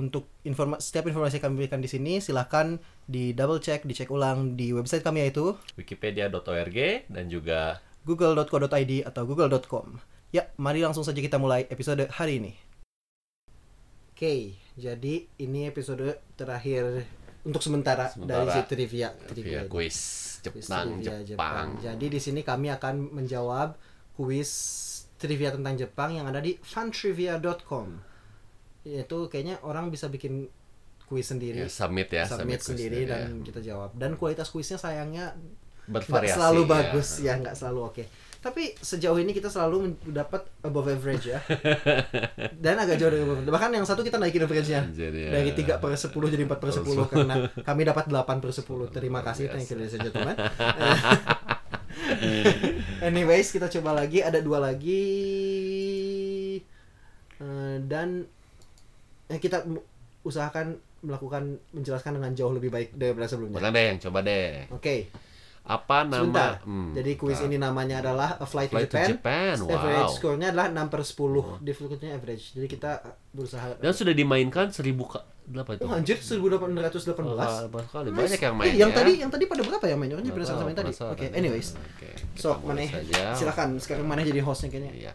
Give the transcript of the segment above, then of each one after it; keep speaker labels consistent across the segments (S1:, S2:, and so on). S1: untuk informa setiap informasi yang kami berikan di sini silahkan di double check, dicek ulang di website kami yaitu
S2: Wikipedia.org dan juga
S1: google.co.id atau google.com. Ya, mari langsung saja kita mulai episode hari ini. Oke, jadi ini episode terakhir untuk sementara,
S2: Sementara.
S1: dari si trivia trivia
S2: via
S1: ini.
S2: kuis
S1: Kuis
S2: Jepang,
S1: trivia
S2: Jepang.
S1: Jadi di sini kami akan menjawab kuis trivia tentang Jepang yang ada di funtrivia.com. Yaitu kayaknya orang bisa bikin kuis sendiri,
S2: Ya, submit ya,
S1: submit,
S2: kuis
S1: sendiri dan
S2: ya.
S1: kita jawab. Dan kualitas kuisnya sayangnya nggak
S2: bervariasi.
S1: selalu
S2: ya.
S1: bagus ya nggak selalu oke tapi sejauh ini kita selalu mendapat above average ya dan agak jauh dari above average. bahkan yang satu kita naikin average-nya
S2: Jadi, ya.
S1: dari 3 per 10 jadi 4 per 10 karena kami dapat 8 per 10 terima kasih thank you ladies and gentlemen anyways kita coba lagi ada dua lagi Eh, dan eh, kita usahakan melakukan menjelaskan dengan jauh lebih baik daripada sebelumnya oke
S2: Boleh deh, yang coba deh. Apa nama?
S1: Sebentar.
S2: Hmm,
S1: Jadi kuis
S2: bentar.
S1: ini namanya adalah A Flight,
S2: Flight
S1: to Japan.
S2: Wow. Oh.
S1: Average skornya adalah 6 per 10. Difficulty-nya average. Jadi kita berusaha.
S2: Dan sudah dimainkan 1000 ka- berapa itu?
S1: Oh anjir 1818.
S2: Ah, banyak sekali. Banyak yang main.
S1: Eh, yang
S2: ya.
S1: tadi yang tadi pada berapa yang mainnya? Kan
S2: Nggak
S1: penasaran
S2: tahu,
S1: sama yang tadi. Oke,
S2: penasaran.
S1: anyways.
S2: Oke, kita
S1: So,
S2: mulai
S1: mana?
S2: saja.
S1: Silakan sekarang mana jadi hostnya kayaknya.
S2: Iya.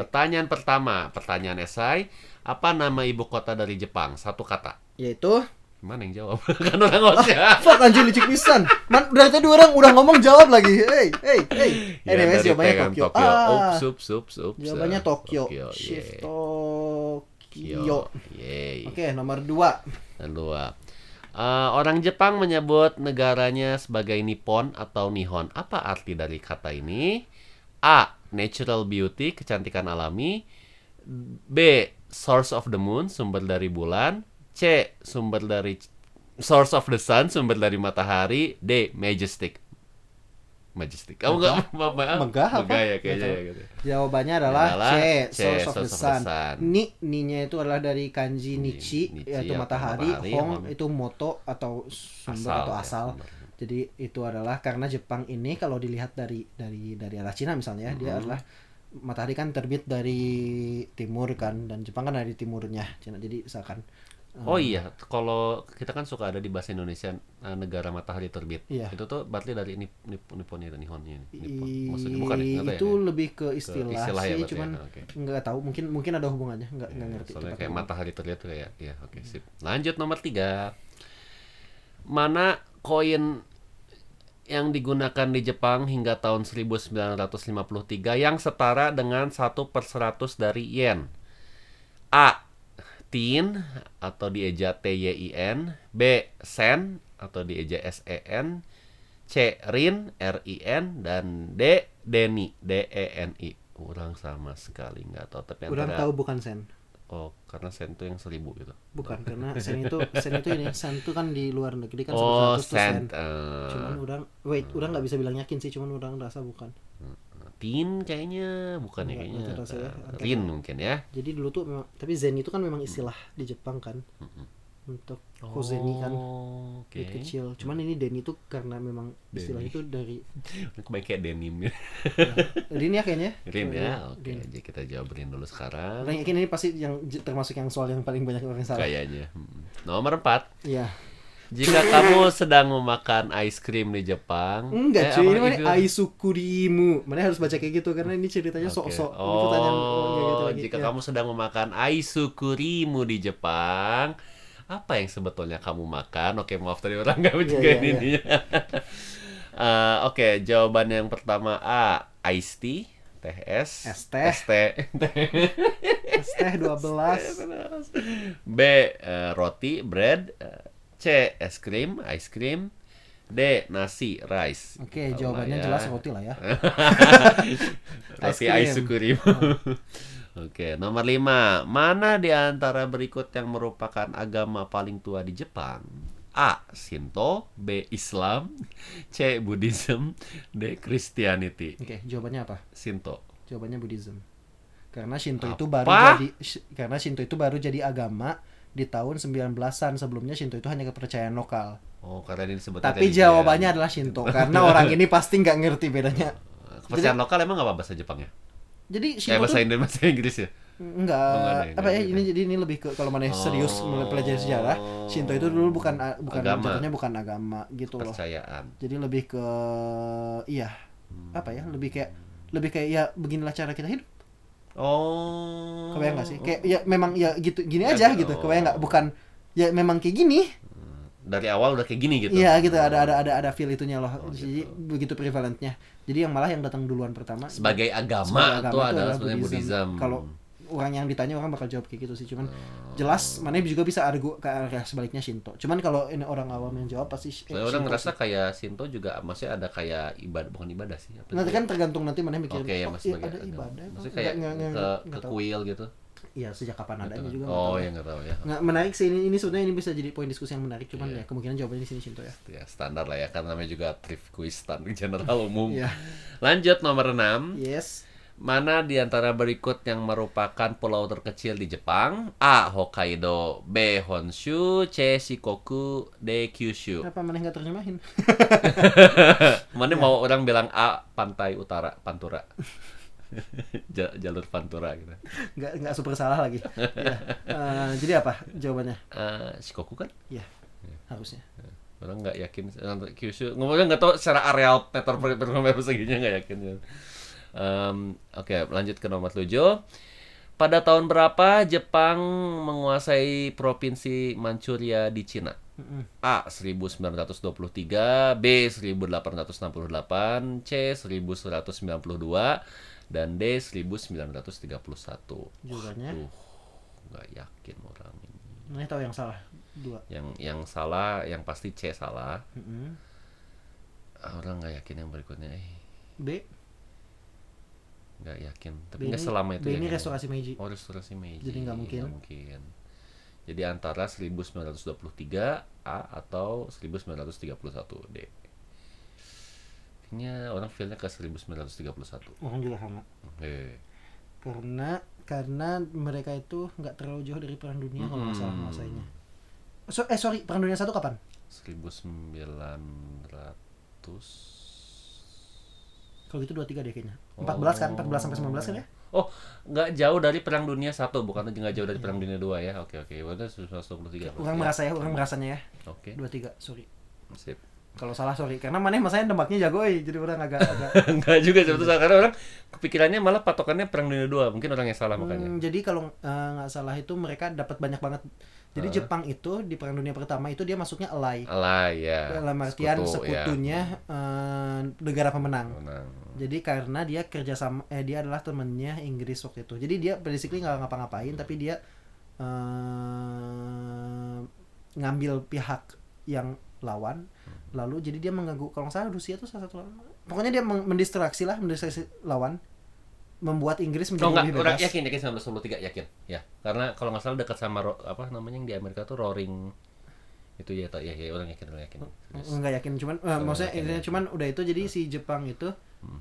S2: Pertanyaan pertama, pertanyaan esai. Apa nama ibu kota dari Jepang? Satu kata.
S1: Yaitu
S2: Mana yang jawab? kan orang host ya.
S1: Fuck anjir licik pisan. Man, udah tadi orang udah ngomong jawab lagi. Hey, hey, hey.
S2: Ya,
S1: Anyways,
S2: dari
S1: jawabannya
S2: Tegan,
S1: Tokyo.
S2: Tokyo.
S1: Ah,
S2: Ups, ups, ups, ups.
S1: jawabannya Tokyo.
S2: Shift
S1: Shift Tokyo.
S2: Yeay.
S1: Oke, nomor 2.
S2: Lalu, ah, eh, orang Jepang menyebut negaranya sebagai Nippon atau Nihon. Apa arti dari kata ini? A. Natural beauty, kecantikan alami. B. Source of the moon, sumber dari bulan. C. Sumber dari source of the sun, sumber dari matahari. D. Majestic. Majestic. Kamu nggak maaf, maaf.
S1: Megah apa?
S2: Megah ya kayaknya.
S1: Nggak
S2: ya, gitu.
S1: Jawabannya adalah
S2: Adalah
S1: C, source, of, the sun. Ni, ninya itu adalah dari kanji nichi,
S2: Nichi
S1: yaitu
S2: atau
S1: matahari,
S2: matahari,
S1: hong
S2: hong.
S1: itu moto atau sumber
S2: Asal,
S1: atau
S2: ya,
S1: asal.
S2: sumber.
S1: Jadi itu adalah karena Jepang ini kalau dilihat dari dari dari arah Cina misalnya, ya, dia
S2: Mm-hmm.
S1: adalah matahari kan terbit dari timur kan dan Jepang kan dari timurnya Cina. Jadi misalkan
S2: Oh iya, kalau kita kan suka ada di bahasa Indonesia eh, negara matahari terbit.
S1: Iya.
S2: Itu tuh berarti dari nip, nip, Nipponnya itu Nihonnya. Nippon.
S1: i-
S2: Maksudnya bukan ya? Nggak tahu ya,
S1: itu
S2: ya?
S1: lebih ke istilah,
S2: istilah ya
S1: sih,
S2: berarti ya.
S1: cuman
S2: Oke. Iya,
S1: nggak tahu mungkin mungkin ada hubungannya, nggak nggak ngerti.
S2: Soalnya
S1: tepatnya.
S2: kayak matahari terlihat tuh kayak ya oke sip. Lanjut nomor tiga. Mana koin yang digunakan di Jepang hingga tahun 1953 yang setara dengan 1 per 100 dari yen? A. Tin atau dieja TYIN B. Sen atau dieja SEN C. Rin RIN dan D. Deni DENI Kurang sama sekali nggak tahu tapi
S1: Orang
S2: antara-
S1: tahu bukan sen.
S2: Oh, karena sen itu yang seribu gitu.
S1: Bukan karena sen itu sen itu ini sen itu kan di luar negeri kan
S2: oh,
S1: 100 tuh sen.
S2: sen. eh,
S1: Cuman orang wait, orang nggak bisa bilang yakin sih, cuman orang rasa bukan.
S2: tin kayaknya bukan
S1: Nggak,
S2: ya kayaknya.
S1: nggak tahu saya.
S2: Eh, Rin mungkin ya.
S1: Jadi dulu tuh memang tapi zen itu kan memang istilah di Jepang kan. Untuk kozeni kan
S2: Hmm. Oh, Oke.
S1: duit kecil. Cuman ini den itu karena memang istilah
S2: Deni.
S1: itu dari
S2: Kebanyakan kayak denim ya.
S1: Rin ya kayaknya.
S2: Rin ya.
S1: Rin.
S2: Oke, jadi kita jawab Rin dulu sekarang.
S1: Orang yakin ini pasti yang j- termasuk yang soal yang paling banyak orang salah.
S2: Kayaknya. Mm. Nomor empat.
S1: Iya.
S2: Jika kamu sedang memakan ice cream di Jepang. eh,
S1: Enggak cuy,
S2: apa?
S1: ini mana
S2: If you-
S1: aisukurimu. Mana harus baca kayak gitu karena ini ceritanya
S2: Oke.
S1: sok-sok. Ini
S2: Oh,
S1: pertanyaan orang kayak gitu lagi.
S2: jika
S1: Ya.
S2: kamu sedang memakan aisukurimu di Jepang, apa yang sebetulnya kamu makan? Oke, maaf tadi orang nggak juga
S1: iya,
S2: ini.
S1: iya.
S2: ininya. Eh, Oke, jawaban yang pertama A, iced tea, teh es,
S1: Es teh.
S2: es teh,
S1: Es teh 12.
S2: B, eh, roti, bread, Eh, C, es krim, ice cream, D, nasi, rice.
S1: Oke,
S2: Kalau
S1: jawabannya
S2: ya,
S1: jelas roti lah ya.
S2: Roti
S1: Ice
S2: ice
S1: cream. Ah.
S2: cream. Oke, nomor lima. Mana di antara berikut yang merupakan agama paling tua di Jepang? A. Shinto B. Islam C. Buddhism D. Christianity
S1: Oke, jawabannya apa?
S2: Shinto
S1: Jawabannya Buddhism. Karena Shinto itu
S2: Apa?
S1: baru jadi Sh- karena Shinto itu baru jadi agama di tahun 19-an. Sebelumnya Shinto itu hanya kepercayaan lokal.
S2: Oh karena ini disebutnya
S1: Tapi
S2: religion.
S1: jawabannya adalah Shinto karena orang ini pasti nggak ngerti bedanya.
S2: Kepercayaan lokal emang apa bahasa Jepang ya?
S1: Jadi
S2: Eh
S1: Shinto
S2: bahasa
S1: tuh
S2: Indonesia bahasa Inggris ya? nggak ada
S1: enggak
S2: yang
S1: apa ya
S2: ngerti.
S1: ini jadi ini lebih ke kalau mana serius
S2: Oh.
S1: mempelajari sejarah, Shinto itu dulu bukan a- bukan
S2: Agama.
S1: jatuhnya bukan agama gitu loh.
S2: Kepercayaan.
S1: Jadi lebih ke iya
S2: Hmm.
S1: apa ya lebih kayak lebih kayak ya beginilah cara kita hidup.
S2: Oh.
S1: Kebayang gak sih? Kayak ya memang ya gitu gini
S2: Ya,
S1: aja gitu.
S2: gitu.
S1: Kebayang nggak? Bukan ya memang kayak gini.
S2: Dari awal udah kayak gini gitu.
S1: Iya gitu ada ada ada ada feel itunya loh.
S2: Oh,
S1: Jadi
S2: gitu.
S1: begitu prevalentnya. Jadi yang malah yang datang duluan pertama
S2: Sebagai
S1: sebagai
S2: agama, itu
S1: itu
S2: adalah sebenarnya Buddhism.
S1: Kalau orang yang ditanya orang bakal jawab kayak gitu sih. Cuman
S2: Oh.
S1: jelas mana juga bisa argu ke arah sebaliknya Shinto. Cuman kalau ini orang awam yang jawab pasti eh,
S2: Soalnya orang
S1: Shinto
S2: ngerasa
S1: sih.
S2: kayak Shinto juga masih ada kayak ibadah bukan ibadah sih. Apa
S1: Nanti
S2: sih?
S1: kan tergantung nanti mana
S2: Oke
S1: mikirin.
S2: ya
S1: oh, iya,
S2: mas sebagai
S1: ada
S2: agama.
S1: ibadah. apa?
S2: Maksudnya kayak
S1: Nggak- nggak-
S2: ke
S1: nggak
S2: ke
S1: tahu.
S2: kuil gitu.
S1: Iya sejak kapan
S2: Gitu
S1: adanya
S2: kan.
S1: juga nggak
S2: Oh
S1: tahu.
S2: ya nggak tahu ya.
S1: Nggak, menarik sih ini ini sebenarnya ini bisa jadi poin diskusi yang menarik cuman
S2: Iya.
S1: ya kemungkinan jawabannya di sini Shinto ya.
S2: Ya standar lah ya karena namanya juga trip quiz tan general umum.
S1: Iya.
S2: Lanjut nomor 6.
S1: Yes.
S2: Mana di antara berikut yang merupakan pulau terkecil di Jepang? A. Hokkaido, B. Honshu, C. Shikoku, D. Kyushu.
S1: Kenapa mana nggak terjemahin?
S2: Mana
S1: Ya.
S2: mau orang bilang A pantai utara, Pantura. Ja- Jalur Pantura gitu.
S1: nggak nggak super salah lagi. Ya. Eh, jadi apa jawabannya?
S2: Eh, Shikoku kan?
S1: Ya harusnya.
S2: Orang nggak yakin orang Kyushu. Ngomongnya nggak tahu secara areal meter per meter per meter seginya nggak yakin. ya. Em, Oke, lanjut ke nomor 7. Pada tahun berapa Jepang menguasai provinsi Manchuria di Cina?
S1: Mm-mm.
S2: A 1923, B 1868, C 1192 dan D 1931.
S1: Jawabannya?
S2: Waduh, nggak yakin orang ini.
S1: Mana tahu yang salah dua.
S2: Yang yang salah, yang pasti C salah.
S1: Mm-mm.
S2: Ah, orang nggak yakin yang berikutnya eh
S1: B.
S2: nggak yakin
S1: B
S2: tapi nggak selama
S1: B
S2: itu ya
S1: ini
S2: kayaknya.
S1: restorasi Meiji.
S2: oh restorasi Meiji
S1: Jadi nggak mungkin.
S2: mungkin. jadi antara 1923 A atau 1931 D kayaknya orang feelnya ke 1931
S1: Orang juga sama.
S2: eh
S1: Karena karena mereka itu nggak terlalu jauh dari perang dunia kalau nggak salah
S2: Mm-mm.
S1: menguasainya. So, eh sorry perang dunia satu kapan?
S2: 1900
S1: Kalau gitu dua tiga deh kayaknya. 14 kan? 14 sampai 19 kan ya?
S2: Oh, nggak jauh dari Perang Dunia satu, bukan nggak jauh dari Perang Dunia 2 ya? Oke oke, berarti 1923.
S1: Orang
S2: berarti ya.
S1: merasa ya, orang merasanya ya.
S2: Iya. Oke,
S1: Dua tiga, sorry.
S2: sip.
S1: Kalau salah sorry, karena maneh masanya nembaknya jago, eh. jadi orang agak agak
S2: Enggak juga sebetulnya karena orang kepikirannya malah patokannya perang dunia 2. Mungkin orang yang salah
S1: Hmm,
S2: makanya.
S1: jadi kalau eh, nggak salah itu mereka dapat banyak banget. Jadi
S2: Hah?
S1: Jepang itu di Perang Dunia Pertama itu dia masuknya alay.
S2: Alah ya.
S1: Dalam artian
S2: Sekutu, ya.
S1: sekutunya eh, negara pemenang.
S2: Menang.
S1: Jadi karena dia kerjasama, eh dia adalah temennya Inggris waktu itu. Jadi dia basically nggak ngapa-ngapain, tapi dia eh, ngambil pihak yang lawan.
S2: Hmm.
S1: Lalu jadi dia mengganggu. Kalau nggak salah Rusia itu salah satu lawan. Pokoknya dia meng- mendistraksi lah, mendistraksi lawan, membuat Inggris menjadi
S2: Oh enggak,
S1: lebih
S2: orang
S1: bebas.
S2: yakin yakin 1923 yakin. Ya, karena kalau nggak salah dekat sama ro- apa namanya yang di Amerika tuh Roaring itu ya tak ya, ya orang yakin orang yakin. Terus,
S1: nggak yakin cuman eh, maksudnya
S2: yakin,
S1: intinya
S2: ya.
S1: cuman udah itu jadi si Jepang itu
S2: Hmm.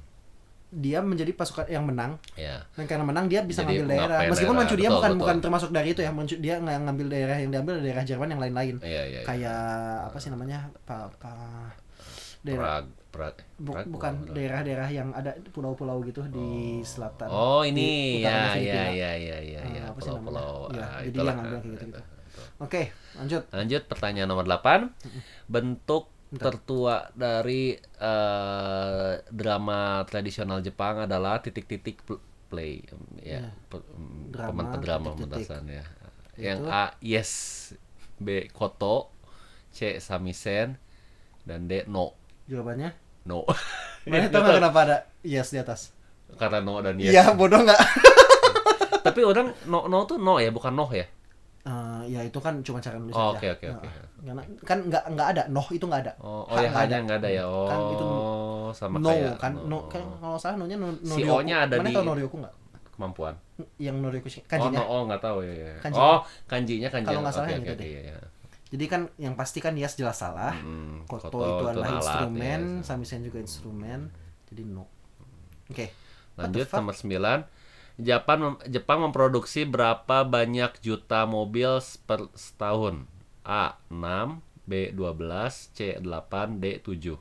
S1: dia menjadi pasukan yang menang
S2: ya.
S1: dan karena menang dia bisa
S2: Jadi
S1: ngambil daerah
S2: ngapain
S1: meskipun
S2: daerah,
S1: Manchuria
S2: betul,
S1: bukan
S2: betul.
S1: bukan termasuk dari itu ya Manchu- dia nggak ngambil daerah yang diambil dari daerah Jerman yang lain-lain
S2: Iya iya. iya.
S1: kayak apa sih namanya pa, pa- daerah
S2: Prague, Prague,
S1: bu-
S2: Prague,
S1: bukan
S2: bukan.
S1: daerah-daerah yang ada pulau-pulau gitu di selatan
S2: Oh
S1: di
S2: ini
S1: utara
S2: ya
S1: Filipina.
S2: ya ya ya ya
S1: Ah,
S2: ya
S1: apa sih
S2: pulau-pulau
S1: namanya? Ya,
S2: ah,
S1: jadi
S2: itulah.
S1: yang ambil kayak gitu-gitu. oke lanjut
S2: Lanjut pertanyaan nomor 8. Bentuk
S1: Bentar.
S2: tertua dari eh, drama tradisional Jepang adalah titik-titik pl- play Em,
S1: Ya.
S2: ya, pe- em,
S1: Drama,
S2: pemen- drama
S1: titik-titik.
S2: pementasan ya.
S1: Itu.
S2: Yang A yes, B koto, C samisen dan D no.
S1: jawabannya
S2: No.
S1: mana
S2: Nggak
S1: tahu nggak
S2: tahu.
S1: kenapa ada yes di atas
S2: Karena no dan yes.
S1: iya bodoh nggak
S2: Tapi orang no no tuh no ya, bukan noh ya.
S1: Eh, ya itu kan cuma cara nulis
S2: Oh,
S1: aja.
S2: oke, oke,
S1: Nah,
S2: oke.
S1: Karena kan nggak nggak ada, noh itu nggak ada.
S2: Oh,
S1: Ha,
S2: oh ya
S1: nggak
S2: hanya nggak ada ya. Oh,
S1: Kan itu
S2: sama
S1: no
S2: kayak
S1: kan, no, kan kalau salah no-nya no, no
S2: Si O-nya ada
S1: Mana
S2: di-
S1: tahu noryoku nggak?
S2: kemampuan.
S1: Yang noryoku sih kanjinya.
S2: Oh, no, oh nggak tahu ya. ya.
S1: Kanjinya.
S2: Oh, kanjinya kanji.
S1: kan Kalau nggak salah
S2: Oke,
S1: yang
S2: oke,
S1: itu
S2: oke,
S1: deh.
S2: iya, iya.
S1: Jadi kan yang pasti kan yes jelas salah.
S2: Hmm,
S1: Koto,
S2: koto
S1: itu
S2: itu
S1: adalah
S2: alat,
S1: instrumen,
S2: ya.
S1: samisen juga instrumen. Jadi no. Oke.
S2: Hmm,
S1: What the
S2: Lanjut
S1: fuck?
S2: nomor 9. Jepang mem- Jepang memproduksi berapa banyak juta mobil per setahun? A 6, B 12, C 8, D 7.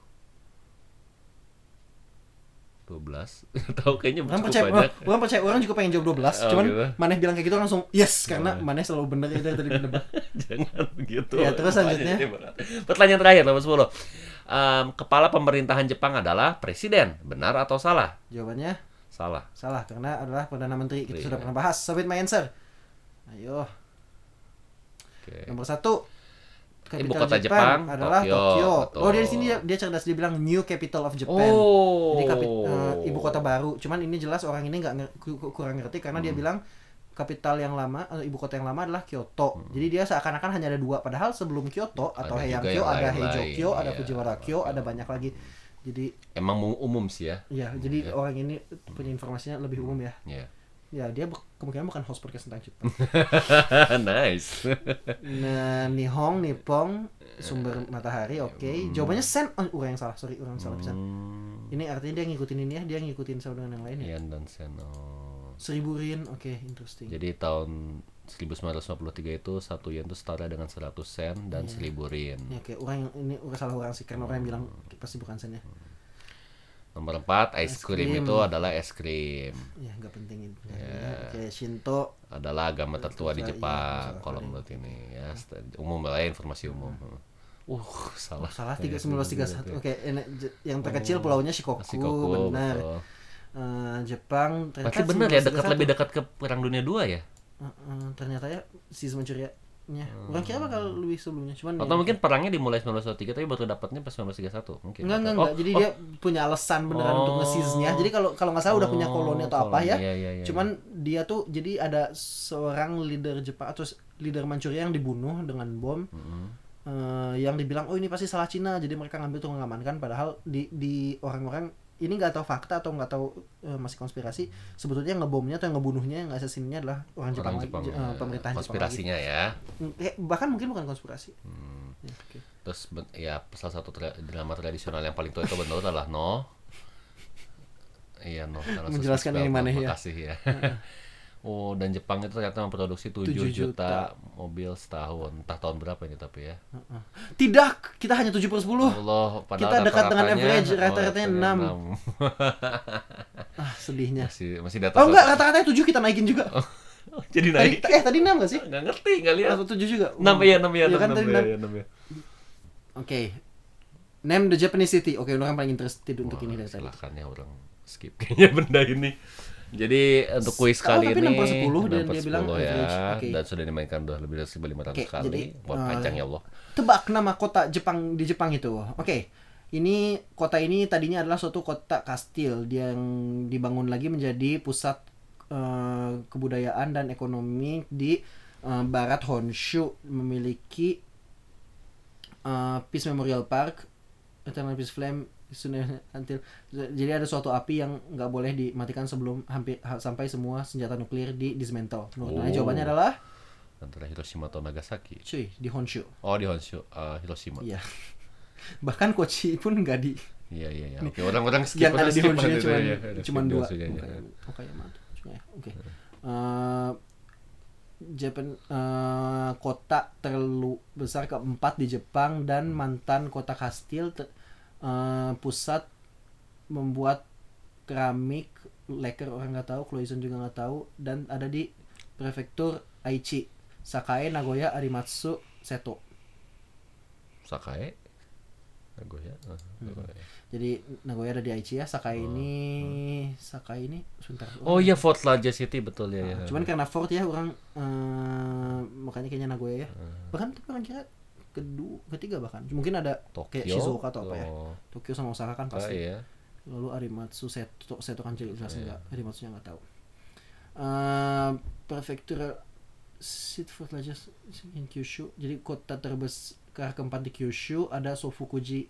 S2: 12. Tahu kayaknya
S1: Orang
S2: cukup
S1: percaya,
S2: banyak.
S1: orang, orang percaya orang juga pengen jawab 12,
S2: Oh,
S1: cuman
S2: gitu. Iya,
S1: maneh bilang kayak gitu langsung yes karena maneh selalu bener itu dari menebak.
S2: Jangan begitu.
S1: Ya, terus
S2: Makanya
S1: selanjutnya.
S2: ini berat. Pertanyaan terakhir nomor 10. Em, kepala pemerintahan Jepang adalah presiden. Benar atau salah?
S1: Jawabannya
S2: Salah.
S1: salah karena adalah perdana menteri kita
S2: Iya.
S1: sudah pernah bahas. Submit my answer. Ayo,
S2: Oke.
S1: nomor satu.
S2: Ibu
S1: Capital
S2: kota Jepang,
S1: adalah
S2: Tokyo.
S1: Tokyo.
S2: Betul.
S1: Oh, dia di sini dia, dia cerdas dia bilang New Capital of Japan.
S2: Oh.
S1: Jadi kapi- eh, ibu kota baru. Cuman ini jelas orang ini nggak nger- ku- ku- kurang ngerti karena
S2: Hmm.
S1: dia bilang kapital yang lama atau ibu kota yang lama adalah Kyoto. Jadi dia seakan-akan hanya ada dua. Padahal sebelum Kyoto atau
S2: Hmm. Ada juga
S1: Heian-kyo
S2: yang
S1: ada
S2: lain-lain,
S1: Heijokyo, ada
S2: iya.
S1: Fujiwara-kyo, ada banyak lagi. Jadi
S2: Emang mu- umum sih ya.
S1: ya, jadi orang ini punya informasinya lebih umum ya.
S2: Ya.
S1: Ya dia bu- kemungkinan bukan host podcast tentang Jepang.
S2: nice.
S1: nah, Nihong, Nipong,
S2: Eh.
S1: sumber matahari, oke. Jawabannya sen, oh, orang yang salah, sorry, orang yang salah pisan.
S2: Ya, Hmm,
S1: Ini artinya dia ngikutin ini ya, dia ngikutin sama dengan yang lain ya.
S2: Ian dan Sen. Oh.
S1: Seribu rin, oke, interesting.
S2: Jadi tahun 1953 itu satu yen itu setara dengan 100 sen dan 1000 rin.
S1: Ya, oke, orang yang ini orang salah orang sih karena orang yang bilang
S2: Hmm.
S1: pasti bukan sen ya.
S2: Nomor 4,
S1: Es
S2: ice cream
S1: krim.
S2: itu adalah es krim.
S1: Ya, nggak penting itu. Ya, Oke, Shinto,
S2: Adalah agama tertua
S1: Tertua,
S2: di
S1: iya,
S2: Jepang
S1: masalah
S2: kalau
S1: kali.
S2: menurut ini ya. st- Umum lah ya, informasi umum. Uh, salah.
S1: salah
S2: Kayak
S1: tiga
S2: gitu
S1: sembilan tiga
S2: gitu
S1: satu.
S2: ya.
S1: Oke, ini j- yang terkecil pulaunya Shikoku,
S2: Oh. Shikoku,
S1: benar.
S2: betul.
S1: Eh, Jepang ternyata
S2: Berarti benar ya dekat
S1: 1931.
S2: lebih dekat ke Perang Dunia 2 ya?
S1: Eh, eh, ternyata ya si Manchuria nya. Orang kira bakal lebih sebelumnya, cuman
S2: Hmm.
S1: ya.
S2: Atau mungkin perangnya dimulai 1923 tapi baru dapatnya pas 1931 mungkin.
S1: Enggak, enggak,
S2: Oh,
S1: enggak. Jadi dia punya alasan beneran untuk
S2: Oh.
S1: nge-seize-nya. Jadi kalau kalau nggak salah udah punya
S2: Oh,
S1: koloni atau apa
S2: koloni.
S1: ya.
S2: Iya, iya, iya.
S1: Cuman dia tuh jadi ada seorang leader Jepang atau leader Manchuria yang dibunuh dengan bom.
S2: Mm-hmm.
S1: Eh, yang dibilang oh ini pasti salah Cina. Jadi mereka ngambil untuk mengamankan padahal di di orang-orang ini nggak tahu fakta atau nggak tahu eh, masih konspirasi sebetulnya yang ngebomnya atau yang ngebunuhnya yang asasinya adalah orang Jepang,
S2: orang
S1: lagi,
S2: Jepang,
S1: Je- eh,
S2: ya.
S1: pemerintah
S2: konspirasinya ya.
S1: Jepang lagi. Eh, bahkan mungkin bukan konspirasi
S2: Hmm.
S1: Ya, oke.
S2: Terus ben- ya salah satu tra- drama tradisional yang paling tua itu benar adalah No. Iya No. karena
S1: Menjelaskan
S2: Suspect
S1: ini
S2: Bell,
S1: mana ya.
S2: Makasih ya. oh dan Jepang itu ternyata memproduksi 7,
S1: 7
S2: juta, mobil setahun. Entah tahun berapa ini tapi ya.
S1: tidak kita hanya 7 per
S2: Oh.
S1: 10
S2: Allah padahal
S1: kita dekat dengan
S2: rata-ratanya-
S1: average,
S2: oh,
S1: rata-ratanya
S2: rata-ratanya
S1: enam.
S2: enam.
S1: ah sedihnya
S2: masih masih di atas
S1: Oh enggak,
S2: satu.
S1: rata-ratanya 7 kita naikin juga. Tadi,
S2: Jadi Oh, naik.
S1: eh tadi 6 enggak sih?
S2: Enggak ngerti, enggak lihat.
S1: Atau 7 juga?
S2: 6 iya 6 iya
S1: Iya kan
S2: 6
S1: tadi 6.
S2: ya,
S1: Oke.
S2: iya, 6 ya.
S1: Name the Japanese city. Oke, orang paling interested untuk
S2: Wah,
S1: ini dari tadi.
S2: silakan ya orang skip kayaknya benda ini. Jadi untuk kuis
S1: Oh,
S2: kali
S1: tapi
S2: ini
S1: 6 per 10 dan
S2: 6 per
S1: dia bilang
S2: 10 ya,
S1: average. Oke.
S2: dan sudah dimainkan udah lebih dari 1500
S1: Oke,
S2: kali.
S1: jadi,
S2: Wah,
S1: eh,
S2: panjang ya Allah.
S1: Tebak nama kota Jepang di Jepang itu. Oke. Ini kota ini tadinya adalah suatu kota kastil dia yang dibangun lagi menjadi pusat eh, kebudayaan dan ekonomi di eh, barat Honshu memiliki uh, Peace Memorial Park Eternal Peace Flame Soon until jadi ada suatu api yang nggak boleh dimatikan sebelum hampir ha- sampai semua senjata nuklir di dismantle. Menurut Nana,
S2: Oh.
S1: jawabannya adalah
S2: Antara Hiroshima atau Nagasaki.
S1: cuy di Honshu.
S2: Oh, di Honshu, eh, Hiroshima.
S1: Iya. Bahkan Kochi pun nggak di
S2: Iya, iya, iya. Oke, orang-orang skip
S1: yang ada di
S2: skip
S1: Honshu
S2: aja,
S1: cuma
S2: iya, iya,
S1: cuma
S2: skip di
S1: dua.
S2: Honshu-nya aja. Iya.
S1: Okayama tuh, cuma ya. Oke. Eh, Japan eh, kota terlalu besar keempat di Jepang dan
S2: Hmm.
S1: mantan kota kastil te- eh, pusat membuat keramik leker orang nggak tahu Cloison juga nggak tahu dan ada di prefektur Aichi Sakae Nagoya Arimatsu Seto
S2: Sakai. Nagoya. eh,
S1: Hmm.
S2: Nagoya.
S1: jadi Nagoya ada di Aichi ya Sakae ini
S2: hmm.
S1: Sakae ini sebentar
S2: Oh iya, Fort Larger City betul ya. ya.
S1: Cuman karena Ford ya orang eh, makanya kayaknya Nagoya ya.
S2: Hmm.
S1: Bahkan tapi orang kira kedua, ketiga bahkan. Mungkin ada
S2: Tokyo.
S1: kayak Shizuoka atau apa ya.
S2: Oh,
S1: Tokyo sama Osaka kan
S2: ah,
S1: pasti.
S2: iya.
S1: Lalu Arimatsu Seto, Seto kan jelas enggak. Arimatsunya enggak tahu. Eh prefektur Seat Fort Largest in Kyushu. Jadi kota terbesar keempat di Kyushu ada Sofukuji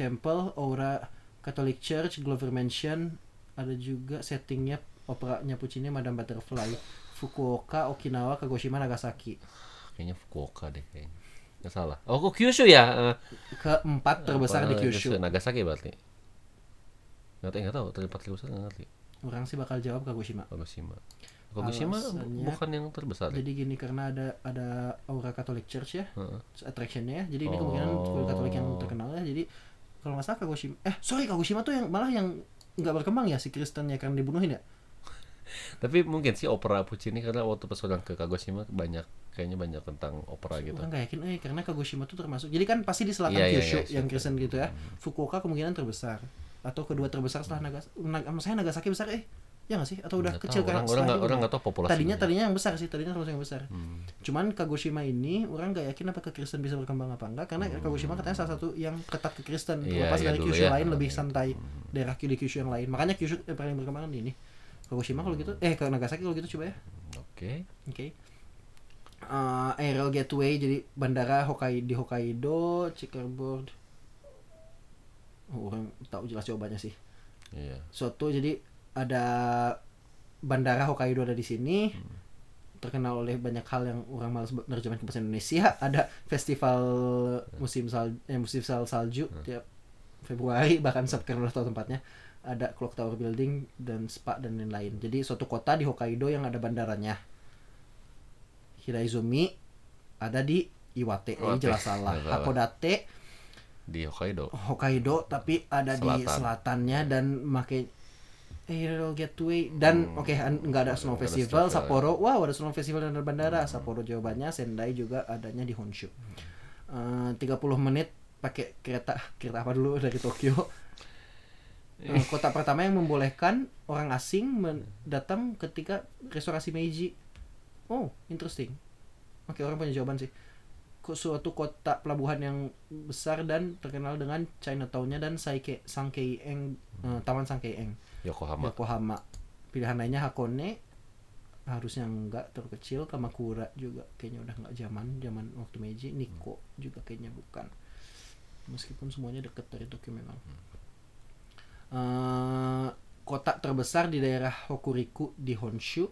S1: Temple, Aura Catholic Church, Glover Mansion, ada juga settingnya operanya Puccini Madame Butterfly, Fukuoka, Okinawa, Kagoshima, Nagasaki.
S2: Kayaknya Fukuoka deh kayaknya. Nggak salah. Oh, kok Kyushu ya? Eh,
S1: Keempat terbesar
S2: apa,
S1: di Kyushu.
S2: Nagasaki berarti. Nggak tahu, nggak tahu. Terlibat terbesar nggak ngerti.
S1: Orang sih bakal jawab Kagoshima.
S2: Kagoshima. Kagoshima
S1: Alasannya-
S2: bukan yang terbesar. ya?
S1: Jadi gini karena ada ada aura Catholic Church ya,
S2: Heeh.
S1: terus attractionnya ya. Jadi ini kemungkinan sekolah Katolik yang terkenal ya. Jadi kalau nggak salah Kagoshima, eh sorry Kagoshima tuh yang malah yang nggak berkembang ya si Kristen ya karena dibunuhin ya.
S2: Tapi mungkin sih opera Puccini karena waktu pas orang ke Kagoshima banyak kayaknya banyak tentang opera gitu.
S1: Orang nggak yakin eh karena Kagoshima tuh termasuk. Jadi kan pasti di selatan
S2: Iya, iya,
S1: Kyushu
S2: iya, iya.
S1: yang Kristen gitu ya. Fukuoka kemungkinan terbesar atau kedua terbesar setelah Nagasaki. Nag saya Nagasaki besar eh ya nggak sih atau udah
S2: Nggak
S1: kecil
S2: tahu,
S1: kan
S2: orang orang
S1: setelah
S2: nggak
S1: itu?
S2: orang nggak tahu populasinya. Hmm.
S1: tadinya tadinya yang besar sih tadinya termasuk yang besar cuman Kagoshima ini orang nggak yakin apakah Kristen bisa berkembang apa enggak karena Kagoshima katanya salah satu yang ketat ke Kristen
S2: Hmm. Iya,
S1: terlepas
S2: iya
S1: dari
S2: dulu
S1: Kyushu
S2: ya.
S1: lain lebih santai daerah di Kyushu yang lain makanya Kyushu yang paling berkembang kan ini Kagoshima kalau gitu eh ke Nagasaki kalau gitu coba ya
S2: Oke.
S1: oke Eh, aerial gateway jadi bandara Hokkaido di Hokkaido checkerboard Oh, orang tahu jelas jawabannya sih
S2: Iya.
S1: suatu jadi ada bandara Hokkaido ada di sini
S2: Hmm.
S1: terkenal oleh banyak hal yang orang malas nerjemahin ke bahasa Indonesia ada festival
S2: Hmm.
S1: musim sal eh, musim sal salju tiap Februari bahkan Sep- karena udah tahu tempatnya ada clock tower building dan spa dan lain-lain jadi suatu kota di Hokkaido yang ada bandaranya Hiraizumi ada di Iwate ini
S2: Iwate.
S1: jelas salah
S2: Jelas salah.
S1: Hakodate
S2: Di Hokkaido.
S1: Oh. Hokkaido tapi ada di
S2: Selatan.
S1: selatannya dan make Aerial Gateway dan oke an- Hmm. nggak ada Snow Festival ya. Hmm.
S2: nggak ada festival.
S1: Sapporo wow ada Snow Festival dan ada bandara Sapporo jawabannya Sendai juga adanya di Honshu Eh, 30 menit pakai kereta kereta apa dulu dari Tokyo Eh, kota pertama yang membolehkan orang asing men- datang ketika restorasi Meiji oh interesting oke orang punya jawaban sih ke suatu kota pelabuhan yang besar dan terkenal dengan Chinatown-nya dan Saike Sangkeieng eh, Taman Sangkeieng
S2: Yokohama.
S1: Yokohama pilihan lainnya Hakone harusnya enggak terkecil Kamakura juga kayaknya udah enggak zaman zaman waktu Meiji Nikko juga kayaknya bukan meskipun semuanya deket dari Tokyo memang Eh, kota terbesar di daerah Hokuriku di Honshu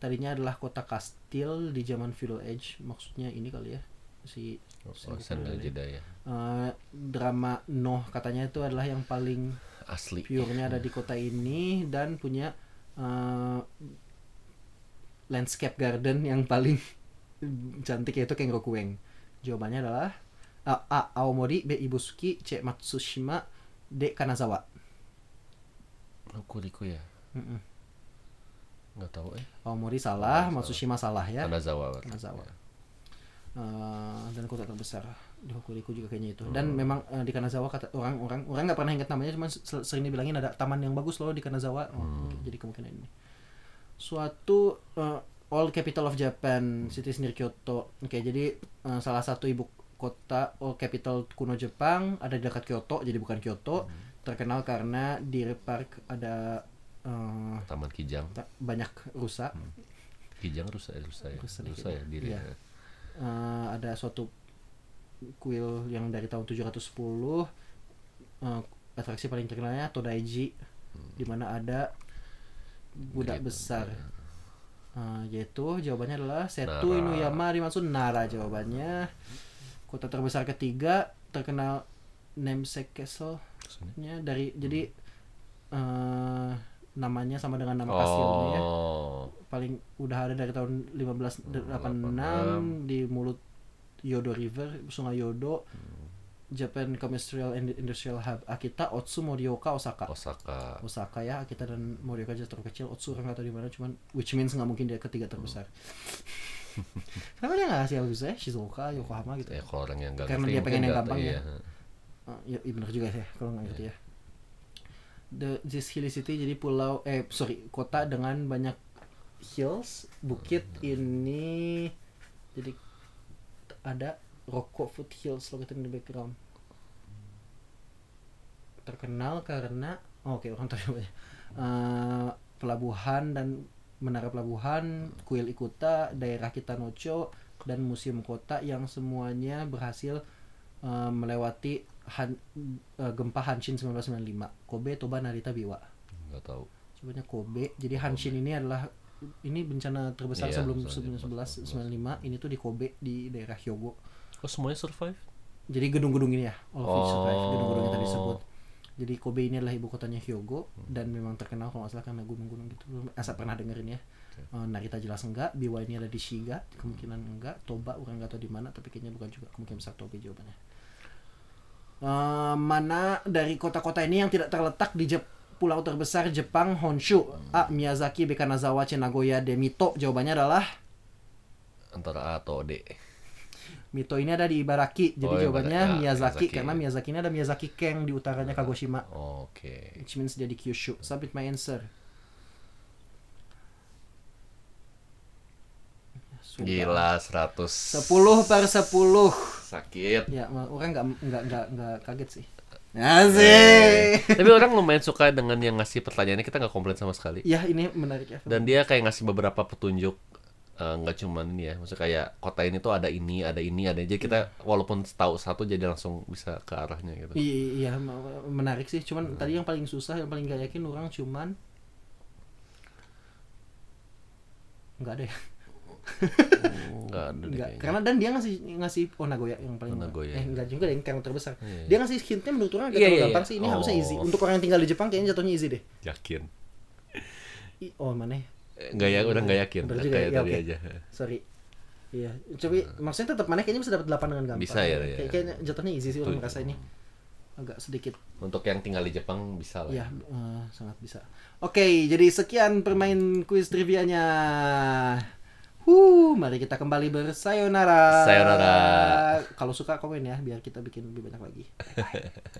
S1: tadinya adalah kota kastil di zaman feudal age maksudnya ini kali ya si si
S2: Oh, Sendai Jidaya.
S1: Eh, drama Noh katanya itu adalah yang paling
S2: Asli.
S1: pure-nya ada di kota ini dan punya eh, landscape garden yang paling cantik yaitu Kenrokueng. Jawabannya adalah eh, A. Aomori, B. Ibusuki, C. Matsushima, D. Kanazawa.
S2: Hokkaido ya.
S1: Mm-mm.
S2: Nggak tahu eh.
S1: Aomori salah,
S2: Aomori salah.
S1: Matsushima salah ya.
S2: Kanazawa. berarti.
S1: Kanazawa.
S2: Ya.
S1: Eh, dan kota terbesar di Hokuriku juga kayaknya itu. Dan memang eh, di Kanazawa kata orang-orang orang nggak pernah ingat namanya, cuman se- sering dibilangin ada taman yang bagus loh di Kanazawa. Oh, oke, Jadi kemungkinan ini. Suatu eh, all capital of Japan, cities near Kyoto. Oke, jadi eh, salah satu ibu kota all capital kuno Jepang ada di dekat Kyoto, jadi bukan Kyoto. Terkenal karena di park ada eh,
S2: Taman Kijang.
S1: ta- banyak rusa.
S2: Kijang rusak ya, rusak ya.
S1: Rusak
S2: Rusak,
S1: di
S2: ya
S1: Kijang.
S2: diri.
S1: Iya. Eh, ada suatu kuil yang dari tahun 710 eh, atraksi paling terkenalnya Todaiji di mana ada budak
S2: Hmm. Gitu,
S1: besar
S2: ya.
S1: Eh, yaitu jawabannya adalah Setu
S2: Nara.
S1: Inuyama dimaksud Nara jawabannya kota terbesar ketiga terkenal namesake castle-nya
S2: Maksudnya?
S1: dari jadi eh, namanya sama dengan nama kastilnya ya
S2: Hmm. Oh.
S1: paling udah ada dari tahun 1586
S2: 86.
S1: di mulut Yodo River, Sungai Yodo, Japan Commercial and Industrial Hub, Akita, Otsu, Morioka, Osaka.
S2: Osaka.
S1: Osaka ya, Akita dan Morioka aja terkecil, Otsu orang nggak tahu di mana, cuman which means nggak mungkin dia ketiga terbesar. Kenapa dia nggak ngasih Albusa? Shizuoka, Yokohama gitu.
S2: Ya kalau orang yang nggak
S1: Karena
S2: ngerti
S1: dia pengen
S2: mungkin
S1: yang
S2: nggak
S1: gampang
S2: tahu, Iya,
S1: ya. Oh, iya iya bener juga sih kalau nggak ngerti ya. The this hilly city jadi pulau eh sorry kota dengan banyak hills bukit ini jadi t- ada Rocco Foothills located in the background terkenal karena oh, oke orang tahu jawabannya. Eh, pelabuhan dan menara pelabuhan kuil Ikuta daerah Kitanocho dan museum kota yang semuanya berhasil eh, melewati han- eh, gempa Hanshin 1995 Kobe Toba Narita Biwa
S2: Nggak tahu.
S1: sebenarnya Kobe. Jadi Hanshin ini adalah ini bencana terbesar
S2: Iya,
S1: sebelum
S2: sebelum
S1: sebelum 11 95 ini tuh di Kobe di daerah Hyogo.
S2: Kok Oh, semuanya survive?
S1: Jadi gedung-gedung ini ya, all of it survive.
S2: Oh.
S1: Gedung-gedung yang tadi disebut. Jadi Kobe ini adalah ibu kotanya Hyogo dan memang terkenal kalau nggak salah karena gunung-gunung gitu. Belum- Asa pernah dengerin ya. Eh, Narita jelas enggak, Biwa ini ada di Shiga, kemungkinan enggak, Toba orang nggak tahu di mana, tapi kayaknya bukan juga kemungkinan besar Tobe jawabannya. Eh, mana dari kota-kota ini yang tidak terletak di Jep- pulau terbesar Jepang Honshu? A. Miyazaki, Bekanazawa, Chenagoya, Demito. Jawabannya adalah
S2: Antara A atau D.
S1: Mito ini ada di Ibaraki, jadi
S2: Oh, Ibaraki.
S1: jawabannya
S2: Ya,
S1: Miyazaki,
S2: Miyazaki.
S1: karena Miyazaki ini ada Miyazaki Keng di utaranya Kagoshima,
S2: Oke.
S1: which means dia di Kyushu. Submit my answer. Sudah.
S2: Gila 100.
S1: 10 per 10.
S2: Sakit.
S1: Ya, ma- orang nggak nggak nggak nggak kaget sih.
S2: Eh,
S1: Asik.
S2: Tapi orang lumayan suka dengan yang ngasih pertanyaannya kita nggak komplain sama sekali.
S1: Ya, ini menarik ya.
S2: Dan dia kayak ngasih beberapa petunjuk eh, nggak cuman ini ya, maksudnya kayak kota ini tuh ada ini, ada ini, ada ini. jadi kita walaupun tahu satu jadi langsung bisa ke arahnya gitu.
S1: I- Iya. Iya, ma- menarik sih. Cuman tadi yang paling susah, yang paling gak yakin orang cuman nggak ada ya.
S2: Enggak ada deh
S1: Enggak,
S2: kayaknya.
S1: karena dan dia ngasih ngasih oh Nagoya yang paling
S2: Oh, Nagoya.
S1: eh enggak juga yang yang terbesar.
S2: Iya.
S1: Dia ngasih hintnya menurut orang agak
S2: Iya,
S1: terlalu
S2: iya,
S1: gampang
S2: iya.
S1: sih ini harusnya
S2: Oh.
S1: easy. Untuk orang yang tinggal di Jepang kayaknya jatuhnya easy deh.
S2: Yakin.
S1: I- oh mana? ya?
S2: Eh, Nggak ya, udah nggak yakin.
S1: Bener juga
S2: Kayak
S1: ya,
S2: tadi
S1: oke.
S2: aja. Nah.
S1: Sorry. Iya, tapi maksudnya tetap mana ya? kayaknya bisa dapat 8 dengan gampang.
S2: Bisa ya,
S1: Kayak-
S2: iya.
S1: Kayaknya jatuhnya easy sih
S2: Tujuh.
S1: orang merasa ini. Agak sedikit
S2: Untuk yang tinggal di Jepang bisa lah.
S1: ya eh, sangat bisa. Oke, jadi sekian permain kuis trivianya. Huh, mari kita kembali bersayonara.
S2: Sayonara.
S1: Kalau suka komen ya biar kita bikin lebih banyak lagi.